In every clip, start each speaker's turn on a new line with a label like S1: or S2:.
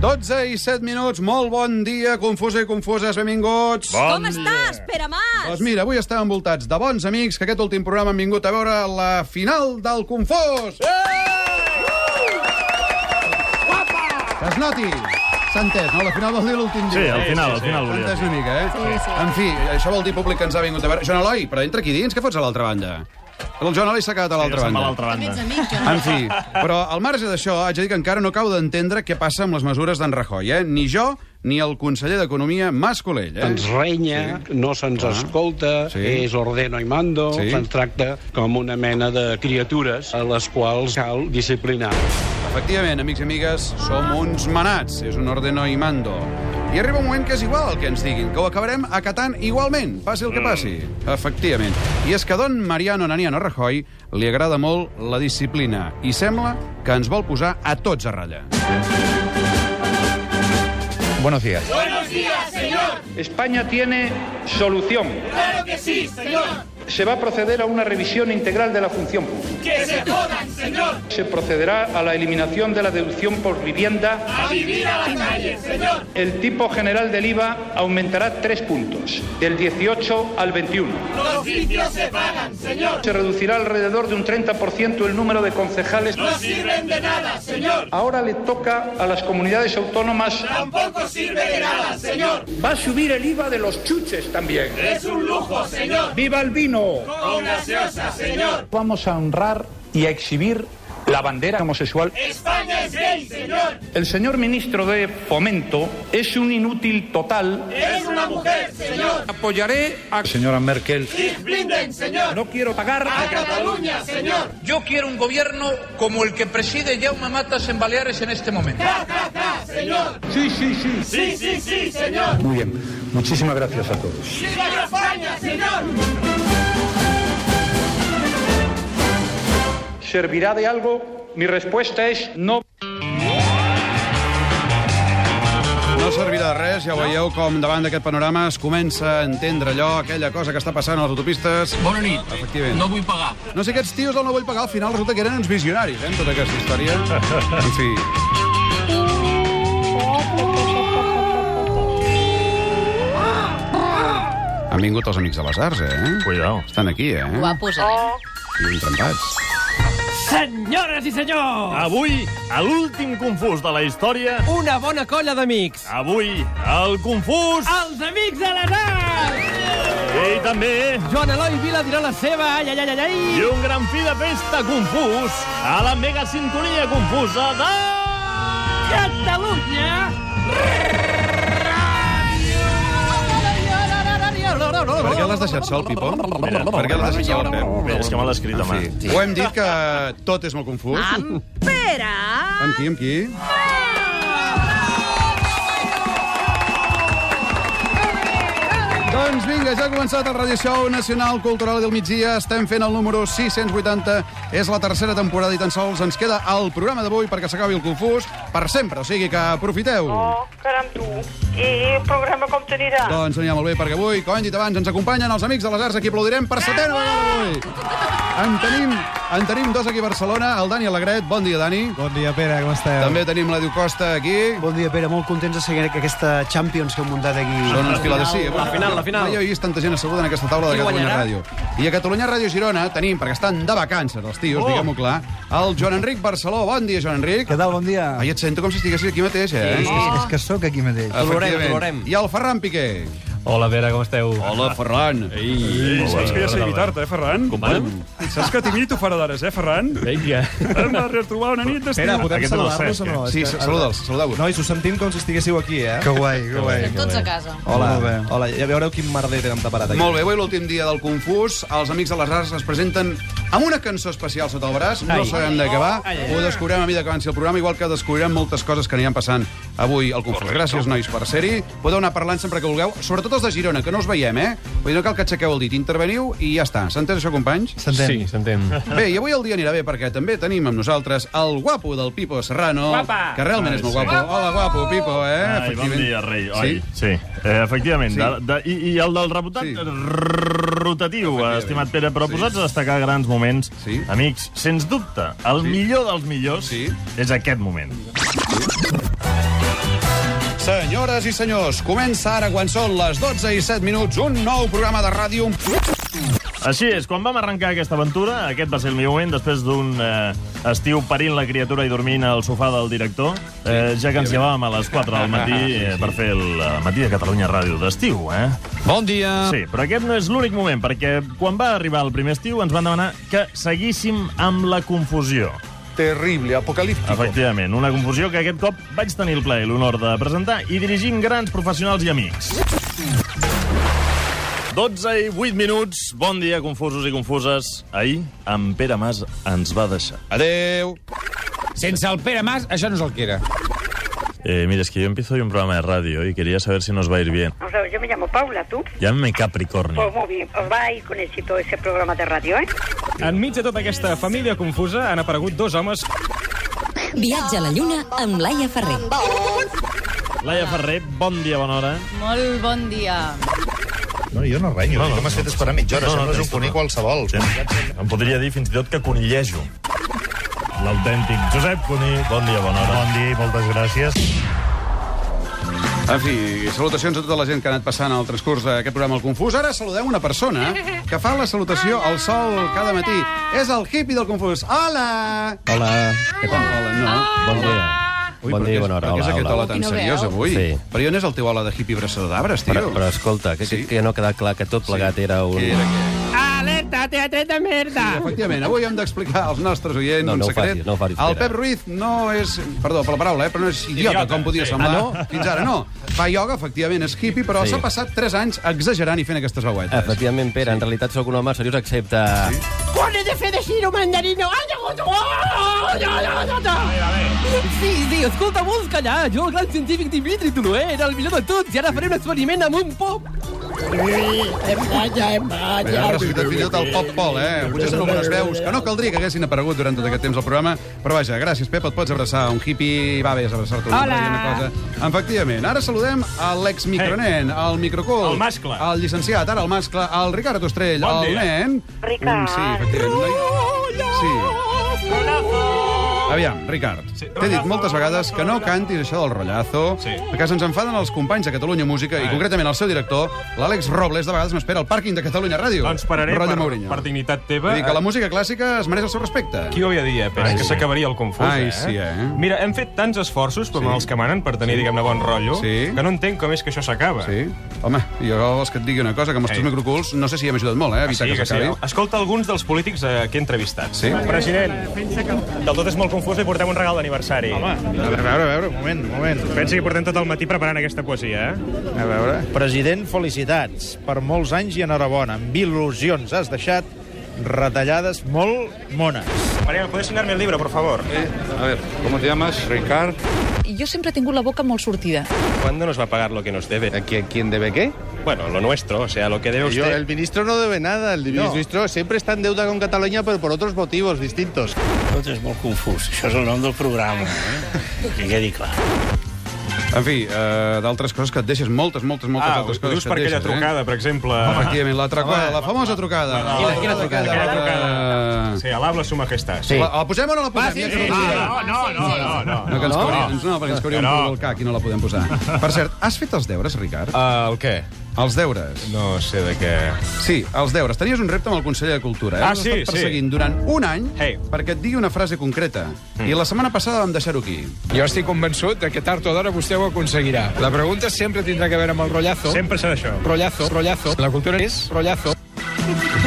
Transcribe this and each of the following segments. S1: 12 i 7 minuts. Molt bon dia, confusa i confuses, benvinguts.
S2: Bon
S3: Com estàs, Pere Mas?
S1: Doncs mira, avui estem envoltats de bons amics que aquest últim programa han vingut a veure la final del Confós. Eh! Que es noti. S'ha entès, no? La final vol dir l'últim
S2: Sí,
S1: dia.
S2: al final, al final
S1: S'ha
S2: volia
S1: entès
S2: dir.
S1: una mica, eh?
S3: Sí, sí.
S1: En fi, això vol dir públic que ens ha vingut a veure. Joan Eloi, però entra aquí dins, què fots a l'altra banda? El Joan Eloi s'ha quedat a
S2: Ja
S1: l'altra
S2: se'n va a
S1: banda.
S2: l'altra banda.
S1: En fi, però al marge d'això, haig de dir que encara no acabo d'entendre què passa amb les mesures d'en Rajoy, eh? Ni jo, ni el conseller d'Economia, Mas Colell, eh?
S4: ens renya, sí. no se'ns ah. escolta,
S1: Sí.
S4: sí. és ordeno i mando,
S1: Sí.
S4: sí. se'ns tracta com una mena de criatures a les quals cal disciplinar.
S1: Efectivament, amics i amigues, som uns manats, és un ordeno i mando. I arriba un moment que és igual el que ens diguin, que ho acabarem acatant igualment, passi el que passi. Efectivament. I és que a don Mariano Naniano Rajoy li agrada molt la disciplina i sembla que ens vol posar a tots a ratlla.
S5: Buenos días.
S6: España tiene solución. ¡Claro que sí, señor! Se va a proceder a una revisión integral de la función pública. ¡Que se jodan, señor! Se procederá a la eliminación de la deducción por vivienda. ¡A vivir a la calle, señor! El tipo general del IVA aumentará tres puntos, del 18 al 21. ¡Los sitios se pagan, señor! Se reducirá alrededor de un 30% el número de concejales. ¡No sirven de nada, señor! Ahora le toca a las comunidades autónomas Va a subir el IVA de los chuches también. Es un lujo, señor. ¡Viva el vino! Con gaseosa, señor. Vamos a honrar y a exhibir la bandera homosexual. España es gay, señor. El señor ministro de Fomento es un inútil total. Es una mujer, señor. Apoyaré a señora Merkel. señor. No quiero pagar a Cataluña, señor. Yo quiero un gobierno como el que preside Jaume Matas en Baleares en este momento. señor. Sí, sí, sí.
S5: Muy bien. Muchísimas gracias a todos.
S6: ¿Servirá de algo? Mi respuesta es no.
S1: No servirà de res, ja veieu com davant d'aquest panorama es comença a entendre allò, aquella cosa que està passant a les autopistes.
S7: Bona nit.
S1: Efectivament.
S7: No vull pagar.
S1: No sé, aquests tios del No vull pagar, al final resulta que eren uns visionaris, eh, amb tota aquesta història. En fi. Han vingut els amics de les arts, eh?
S2: Cuidao.
S1: Estan aquí, eh?
S3: Guapos, eh?
S1: I ben trempats.
S8: Senyores i senyors,
S2: Avui, a l'últim confús de la història,
S8: una bona colla d'amics.
S2: avui, el confús
S8: Els amics de les arts!
S2: i també
S8: Joan Eloi Vila dirà la seva, ai, ai, ai, ai,
S2: i
S8: ai.
S2: un gran fi de festa confús a la mega sintonia confusa de...
S8: Catalunya!
S1: Per què l'has deixat sol, Pipo?
S2: Mira.
S1: Per què l'has deixat sol, Pep?
S2: Bé, és que me l'ha escrit a mà.
S1: Sí. Ho hem dit que tot és molt confús.
S3: Amb Pere...
S1: Amb qui, amb qui? Doncs vinga, ja ha començat el Radio Show Nacional Cultural del Migdia. Estem fent el número 680. És la tercera temporada i tan sols ens queda el programa d'avui perquè s'acabi el confús per sempre. O sigui que aprofiteu.
S9: Oh, caram, tu. I el programa com t'anirà?
S1: Doncs anirà molt bé perquè avui, com hem dit abans, ens acompanyen els amics de les arts a qui aplaudirem per setena vegada avui. En tenim, en tenim dos aquí a Barcelona, el Dani Alegret. Bon dia, Dani.
S5: Bon dia, Pere, com esteu?
S1: També tenim l'Edu Costa aquí.
S10: Bon dia, Pere. Molt contents de seguir aquesta Champions que hem muntat aquí.
S1: Són uns filadessia.
S8: la final, la final.
S1: Mai he vist tanta gent asseguda en aquesta taula de
S8: Qui
S1: Catalunya
S8: guanyarà?
S1: Ràdio. I a Catalunya Ràdio Girona tenim, perquè estan de vacances els tios,
S8: Oh.
S1: diguem-ho clar, el Joan Enric Barceló. Bon dia, Joan Enric.
S10: Què tal? Bon dia.
S1: Ai, et sento com si estiguessis aquí mateix, eh? Ah,
S10: És, és que sóc aquí mateix.
S1: Efectivament.
S8: T'olorem, t'olorem.
S1: I el Ferran Piqué.
S5: Hola, Pere, com esteu?
S1: Hola, Ferran.
S5: Ei, saps que ja sé imitar-te,
S6: eh, Ferran?
S5: company?
S6: Saps que t'imito fora d'hores, eh, Ferran?
S5: Vinga.
S6: Vam retrobar una nit d'estiu.
S5: Pere, podem
S2: Aquest no el
S5: saludar-vos
S2: sé,
S5: o no?
S1: Sí,
S5: És que-
S1: saluda'ls, saludeu-vos.
S5: Nois, us sentim com si estiguéssiu aquí, eh?
S10: Que guai, que guai.
S3: Tots a casa.
S5: Hola,
S10: Molt bé.
S5: hola, ja veureu quin merder tenen preparat aquí.
S1: Molt bé, avui l'últim dia del Confús. Els Amics de les Arts es presenten amb una cançó especial sota el braç. No
S8: Ai.
S1: sabem de què va.
S8: Ai, ai, ai.
S1: Ho descobrirem a mesura que avanci el programa, igual que descobrirem moltes coses que aniran passant avui al Confús. Gràcies, nois, per ser-hi. Podeu anar parlant sempre que vulgueu, sobretot els de Girona, que no us veiem, eh? Vull dir, no cal que aixequeu el dit, interveniu i ja està. S'ha entès això, companys?
S10: S'entén? Sí.
S5: s'entén.
S1: Bé, i avui el dia anirà bé perquè també tenim amb nosaltres el guapo del Pipo Serrano,
S8: Guapa.
S1: que realment
S2: Ai,
S1: és molt
S2: sí.
S1: guapo. Hola, guapo, Pipo, eh?
S2: Ai, bon
S1: Efectivament.
S2: dia, rei.
S1: Sí?
S2: Oi? Sí, eh, efectivament.
S1: Sí.
S2: De, de, i, I el del rebotat
S1: Sí.
S2: sí. rotatiu, estimat Pere, però
S1: Sí.
S2: posats a destacar grans moments.
S1: Sí.
S2: Amics, sens dubte, el
S1: Sí.
S2: millor dels millors
S1: Sí.
S2: és aquest moment.
S1: Senyores i senyors, comença ara, quan són les 12 i 7 minuts, un nou programa de ràdio.
S2: Així és, quan vam arrencar aquesta aventura, aquest va ser el meu moment, després d'un eh, estiu parint la criatura i dormint al sofà del director, eh, ja que ens llevàvem a les 4 del matí eh, per fer el eh, matí de Catalunya Ràdio d'estiu, eh?
S1: Bon dia.
S2: Sí, però aquest no és l'únic moment, perquè quan va arribar el primer estiu ens van demanar que seguíssim amb la confusió.
S1: Terrible, apocalíptico.
S2: Efectivament, una confusió que aquest cop vaig tenir el plaer i l'honor de presentar i dirigint grans professionals i amics. 12 i 8 minuts, bon dia, confusos i confuses. Ahir, en Pere Mas ens va deixar.
S1: Adeu.
S7: Sense el Pere Mas, això no és el que era.
S2: Eh, mira, es que yo empiezo hoy un programa de radio y quería saber si nos va a ir bien.
S9: Vamos a ver, yo me llamo Paula, ¿tú?
S2: Llámame
S9: Pues
S2: Capricornio.
S9: muy bien, os va a ir con éxito ese programa de radio, ¿eh?
S7: Enmig de tota aquesta família confusa han aparegut dos homes.
S11: Viatge a la Lluna amb Laia Ferrer.
S2: Laia Ferrer, bon dia, bona hora.
S3: Molt bon dia.
S12: No, jo no renyo. No, no, m'has fet esperar mitja hora.
S2: No,
S12: No,
S2: no,
S12: no, Sembles
S2: tens
S12: un conill
S2: tota.
S12: qualsevol.
S2: Em podria dir fins i tot que conillejo. L'autèntic Josep Cuní, bon dia, bona hora.
S12: Bon dia i moltes gràcies.
S1: En fi, salutacions a tota la gent que ha anat passant al transcurs d'aquest programa El Confús. Ara saludem una persona que fa la salutació al sol cada matí. És el hippie del Confús. Hola!
S13: Hola, què tal?
S1: Hola, no.
S13: Bon dia.
S1: Ui,
S13: bon
S1: però
S13: dia i
S1: què és-
S13: bona hora.
S1: però què és
S13: Hola,
S1: aquest hola
S13: hola.
S1: tan seriós avui?
S13: Sí.
S1: Però i on és el teu hola de hippie braçador d'arbres, tio?
S13: Però, però escolta, que, sí. que no ha quedat clar que tot plegat sí. era un...
S1: Què era,
S8: Alerta, teatret de merda!
S1: Ah, Efectivament, avui hem d'explicar als nostres oients
S13: No, no
S1: un
S13: ho
S1: secret.
S13: facis, no ho facis,
S1: el
S13: Pere.
S1: Pep Ruiz no és... Perdó per la paraula, eh, però no és idiota,
S13: Idiota,
S1: com podia
S13: sí.
S1: semblar.
S13: Ah, no?
S1: Fins ara no. Fa ioga, efectivament, és hippie, però
S13: Sí.
S1: s'ha passat 3 anys exagerant i fent aquestes veuetes.
S13: Efectivament, Pere, sí. en realitat sóc un home seriós, excepte... Sí.
S8: Quan he de fer de giro mandarino? Ai, ai, ai, ai, ai, ai, ai. Sí, sí, escolta, vols callar? Jo, el gran científic Dimitri Toloé, era el millor de tots, i ara faré un experiment amb un pop.
S1: Bé, ha ressuscitat fins i tot el Pop Pol, eh? Potser són algunes veus que no caldria que haguessin aparegut durant tot aquest temps al programa, però vaja, gràcies, Pep, et pots abraçar un hippie, va bé abraçar-te.
S8: Hola.
S1: Una cosa. Efectivament, ara saludem a l'exmicronen, el microcul,
S2: El mascle.
S1: el llicenciat, ara el mascle, el Ricard Ostrell,
S2: Bon
S1: el
S2: dia.
S1: nen... Mm,
S9: Ricard.
S1: Sí, efectivament. un noi- Sí. Aviam, Ricard, t'he dit moltes vegades que no cantis això del rotllazo, sí. perquè se'ns enfaden els companys de Catalunya Música i concretament el seu director, l'Àlex Robles, de vegades m'espera al pàrquing de Catalunya Ràdio.
S14: Doncs pararé
S1: Rotllo
S14: per,
S1: Mourinho.
S14: per dignitat teva. eh?
S1: Vull dir que la música clàssica es mereix el seu respecte.
S14: Qui ho havia dit, eh, Pere?
S1: Ai,
S14: que
S1: sí.
S14: s'acabaria el confús,
S1: Ai,
S14: eh?
S1: sí, eh?
S14: Mira, hem fet tants esforços com sí. els que manen per tenir, sí. diguem-ne, bon rotllo,
S1: Sí.
S14: que no entenc com és que això s'acaba.
S1: Sí. Home, jo vols que et digui una cosa, que amb els teus microculs no sé si hem ajudat molt, eh,
S14: Que
S1: a evitar
S14: Ah, sí,
S1: que
S14: que sí.
S1: s'acabi.
S14: Escolta alguns dels polítics eh, que he entrevistat.
S1: Sí.
S14: President, del tot és molt confús i portem un regal d'aniversari. Home,
S15: A veure, a veure, un moment, un moment.
S14: Pensa que portem tot el matí preparant aquesta poesia, eh?
S15: A veure. President, felicitats. Per molts anys i enhorabona. Amb il·lusions has deixat retallades molt mones.
S14: Mariana, ¿puedes enseñarme el libro, por favor?
S6: A ver, ¿cómo te llamas? Ricard.
S16: Jo sempre he tingut la boca molt sortida.
S14: ¿Cuándo nos va a pagar lo que nos debe? ¿A quién, debe qué? Bueno, lo nuestro, o sea, lo que debe
S15: Yo,
S14: usted.
S15: el ministro no debe nada, el
S14: No.
S15: ministro siempre está en deuda con Cataluña, pero por otros motivos distintos.
S17: Tot és molt confús. Això és el nom del programa, eh? Que quedi clar.
S1: En fi, eh, d'altres coses que et deixes, moltes, moltes, moltes
S14: Ah,
S1: altres
S14: ho
S1: coses
S14: dius
S1: que
S14: per
S1: et
S14: aquella
S1: deixes.
S14: trucada,
S1: eh?
S14: per exemple.
S1: Efectivament, la trucada,
S14: Home,
S1: la famosa trucada.
S14: Quina- quina trucada?
S1: La
S14: Aquella
S1: trucada.
S14: Sí, al habla su majestad.
S1: Sí. La, la posem o no la posem?
S14: Va, Ah, sí,
S1: Ja que
S14: sí,
S1: no,
S14: sí.
S1: no,
S14: No, no, no, no.
S1: No, que ens
S14: No?
S1: cauria, ens, no, perquè ens cauria un
S14: No.
S1: punt del cac i no la podem posar. Per cert, has fet els deures, Ricard?
S14: Uh, el què?
S1: Els deures.
S14: No sé de què...
S1: Sí, els deures. Tenies un repte amb el conseller de Cultura. Eh?
S14: Ah,
S1: L'has
S14: sí,
S1: estat
S14: sí.
S1: perseguint durant un any hey. perquè et digui una frase concreta. I la setmana passada vam deixar-ho aquí.
S18: Jo estic convençut de que tard o d'hora vostè ho aconseguirà. La pregunta sempre tindrà que veure amb el rotllazo.
S14: Sempre serà això.
S18: Rotllazo, rotllazo. La cultura és rotllazo.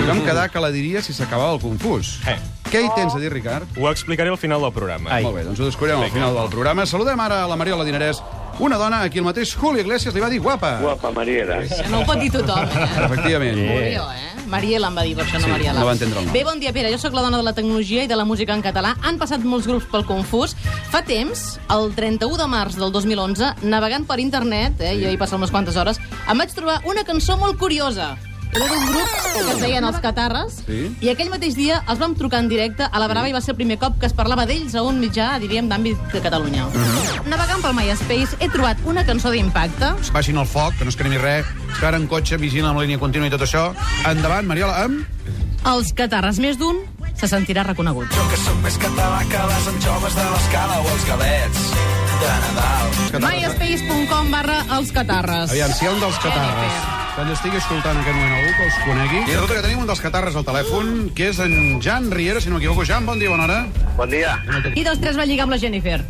S1: Vam quedar que la diria si s'acabava el confús. Hey. Què hi tens a dir, Ricard?
S14: Ho explicaré al final del programa.
S1: Ai. Molt bé, doncs ho descobrirem al final del programa. Saludem ara a la Mariola Dinerès, una dona a qui el mateix Julio Iglesias li va dir guapa.
S19: Guapa, Mariela.
S16: No ho pot dir tothom, eh?
S1: Efectivament.
S16: Julio, eh? Mariela em va dir, per això no
S1: Sí,
S16: Mariela.
S1: no va entendre el nom.
S16: Bé, bon dia, Pere. Jo sóc la dona de la tecnologia i de la música en català. Han passat molts grups pel Confús. Fa temps, el 31 de març del 2011, navegant per internet, eh, jo hi passat unes quantes hores, em vaig trobar una cançó molt curiosa. Era d'un grup que es deien Els Catarres,
S1: Sí?
S16: I aquell mateix dia els vam trucar en directe a la Brava i va ser el primer cop que es parlava d'ells a un mitjà, diríem, d'àmbit de Catalunya.
S1: Mhm.
S16: Navegant pel MySpace he trobat una cançó d'impacte.
S19: Que Baixin el foc, que no es cremi res, que ara en cotxe vigila amb la línia contínua i tot això. Endavant, Mariola, amb...
S16: Els catarres més d'un
S20: se sentirà reconegut.
S21: Jo que sóc més català que les anjoves de l'escala o els galets de Nadal.
S20: myspace.com barra els catarres.
S22: Aviam, si hi ha un dels catarres que ens estigui escoltant en aquest moment algú que els conegui... I resulta que tenim un dels catarres al telèfon, que és en Jan Riera, si no m'equivoco. Jan, bon dia, bona hora. Bon dia.
S20: I dels tres va lligar amb la Jennifer.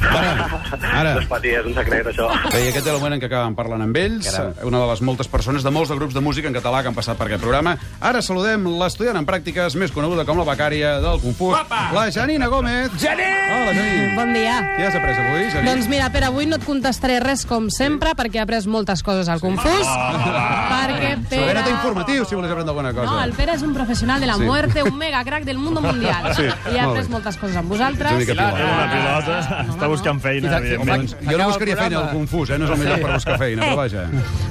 S1: Ara.
S22: Doncs,
S23: No es pati, és un secret, això.
S1: Bé, i aquest és el moment en què acabem parlant amb ells,
S23: Caram.
S1: una de les moltes persones de molts de grups de música en català que han passat per aquest programa. Ara saludem l'estudiant en pràctiques més coneguda com la becària del Confús, la Janina Gómez. Janina! Hola, Janina.
S16: Bon dia.
S1: Què has après avui, Janina?
S16: Doncs mira, Pere, avui no et contestaré res com sempre, perquè he après moltes coses al Confús.
S1: Ah,
S16: Perquè Pere...
S1: Sobrena't informatiu, si vols aprendre alguna cosa.
S16: No, el Pere és un professional de la
S1: Sí.
S16: muerte, un mega crack del mundo mundial.
S1: Sí,
S16: I ha
S1: molt
S16: après
S1: bé.
S16: moltes coses amb
S1: Ets una
S16: vosaltres.
S1: mica pilota.
S2: Una pilota, està buscant feina, evidentment.
S1: doncs, Jo no buscaria feina, el confús, eh? No és el millor per buscar feina, però vaja.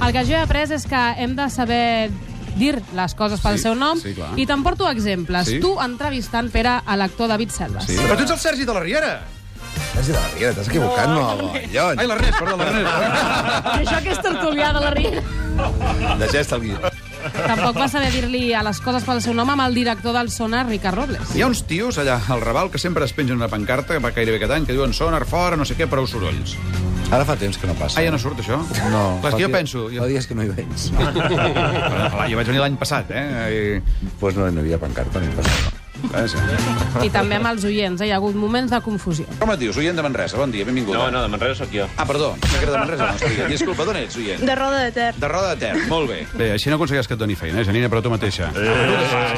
S16: El que jo he après és que hem de saber dir les coses pel
S1: Sí,
S16: seu nom
S1: sí, clar.
S16: i te'n porto exemples.
S1: Sí.
S16: Tu entrevistant, Pere, a l'actor David Selves.
S1: Sí. Però tu ets el Sergi de la Riera.
S15: Sergi de la Riera, t'has equivocat, no, Llony.
S1: Ai, l'Ernest, perdó, l'Ernest.
S16: I això que és tertulià de la Riera.
S15: Llegeix-te el guió.
S16: Tampoc va saber dir-li a les coses pel seu nom amb el director del Sonar, Ricard Robles.
S1: Hi ha uns tios allà al Raval que sempre es pengen una pancarta que va gairebé cada any que diuen sonar fora, no sé què, prou sorolls.
S15: Ara fa temps que no passa.
S1: Ah, ja no surt, això?
S15: No.
S1: Clar, és que
S15: fa
S1: jo
S15: di-
S1: penso... Jo...
S15: Fa dies que no hi veig.
S1: Clar, jo vaig venir l'any passat, eh?
S15: Doncs pues no, no hi havia pancarta ni passat.
S16: I també amb els oients, eh? hi ha hagut moments de confusió.
S1: Com et dius? Oient de Manresa, bon dia, benvinguda. No, no, de Manresa sóc jo. Ah, perdó, que era de Manresa, no estic. Disculpa, d'on ets, oient?
S24: Roda de Ter.
S1: De Roda de Ter, molt bé. Bé, així no aconsegueix que et doni feina, eh, Janina, però tu mateixa. Eh.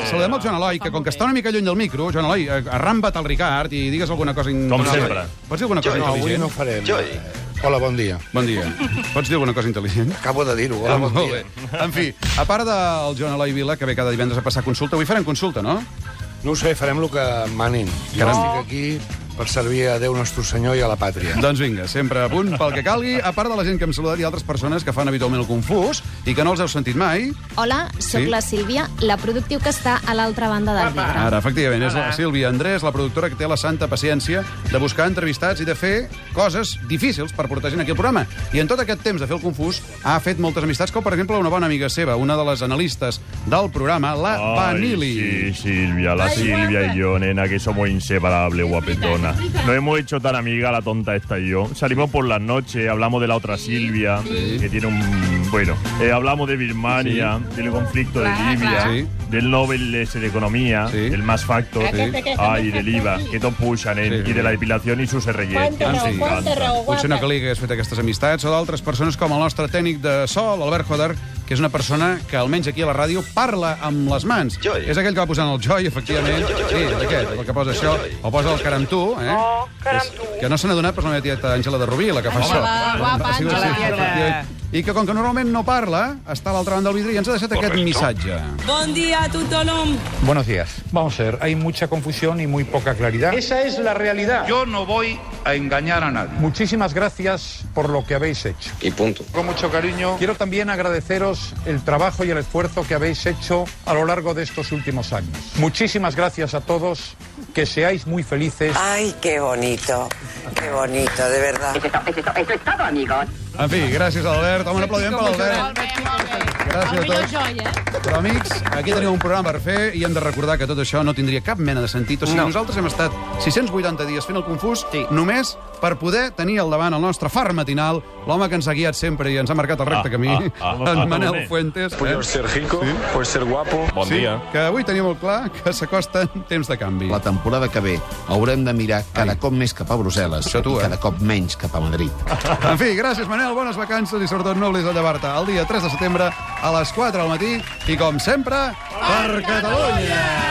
S1: Saludem el Joan Eloi, que com que està una mica lluny del micro, Joan Eloi, eh, arramba't al Ricard i digues alguna cosa... In...
S15: Com
S1: Joan Eloi,
S15: sempre.
S1: Pots dir alguna cosa
S15: Jo no, avui
S1: intel·ligent?
S15: no farem. Jo-
S1: Hola, bon dia. Bon dia. Pots dir alguna cosa intel·ligent? Ah,
S15: Acabo de dir-ho, hola, bon dia.
S1: En fi, a part del Joan Eloi Vila, que ve cada divendres a passar consulta, avui farem consulta, no?
S15: No ho sé, farem el que em manin. Jo
S1: Caram.
S15: estic aquí per servir a Déu nostre senyor i a la pàtria.
S1: Doncs vinga, sempre a punt pel que calgui. A part de la gent que hem saludat, hi ha altres persones que fan habitualment el confús i que no els heu sentit mai.
S25: Hola, sóc
S1: Sí?
S25: sí? la Sílvia, la productiu que està a l'altra banda del vidre.
S1: Ara, efectivament, és la Sílvia Andrés, la productora que té la santa paciència de buscar entrevistats i de fer coses difícils per portar gent aquí al programa. I en tot aquest temps de fer el confús ha fet moltes amistats, com per exemple una bona amiga seva, una de les analistes del programa, la
S2: Ai,
S1: Vanili.
S2: sí, Silvia, la
S1: Ay,
S2: Silvia
S1: guapa.
S2: y yo, nena, que somos inseparables, guapetona. No hemos hecho tan amiga la tonta esta y yo. Salimos por las noches, hablamos de la otra Silvia, que tiene un... Bueno, eh, hablamos de Birmania, del conflicto de
S26: Claro,
S2: Libia,
S26: claro. Sí.
S2: del Nobel ese de Economía, del Más Factor,
S26: Sí.
S2: ay, del IVA, que tot pujan, eh, i de la depilación y sus RG.
S1: Potser no calia que hagués fet aquestes amistats o d'altres persones com el nostre tècnic de so, l'Albert Joder, que és una persona que, almenys aquí a la ràdio, parla amb les mans. Joy. És aquell que va posant el joy, efectivament. Joy, joy, joy, sí, aquest, el que posa això. O posa el carantú, eh? Oh, carantú. Que no se n'ha donat, però és la meva tieta Àngela de Rubí, la que fa això.
S24: guapa,
S1: Ha sigut
S24: Àngela.
S1: així, efectivament. I que, com que normalment no parla, està a l'altra banda del vidre i ens ha deixat aquest missatge.
S24: Bon dia a tothom.
S6: Buenos días. Vamos a ver, hay mucha confusión y muy poca claridad.
S27: Esa es la realidad. Yo no voy a engañar a nadie.
S6: Muchísimas gracias por lo que habéis hecho.
S27: Y punto.
S6: Con mucho cariño, quiero también agradeceros el trabajo y el esfuerzo que habéis hecho a lo largo de estos últimos años. Muchísimas gracias a todos, que seáis muy felices.
S9: Ay, qué bonito, qué bonito, de verdad.
S28: Eso es todo, amigos.
S1: En fi, gràcies, Albert. Home, un aplaudiment per l'Albert. Gràcies a tots.
S24: eh?
S1: Però, amics, aquí teniu un programa per fer i hem de recordar que tot això no tindria cap mena de sentit. O sigui, no. nosaltres hem estat 680 dies fent el confús sí. només per poder tenir al davant el nostre far matinal, l'home que ens ha guiat sempre i ens ha marcat el recte
S22: Ah,
S1: camí,
S22: ah, ah.
S1: en Manel
S22: Ah,
S1: Fuentes. eh?
S22: Puedes ser rico, puedes ser guapo.
S1: sí, Que avui teniu molt clar que s'acosten temps de canvi.
S4: La temporada que ve haurem de mirar cada Ai. cop més cap a Brussel·les tu, eh? i cada cop menys cap a Madrid.
S1: En fi, gràcies, Manel, bones vacances i sobretot no oblidis de llevar-te el dia 3 de setembre a les 4 del matí i, com sempre, per Catalunya!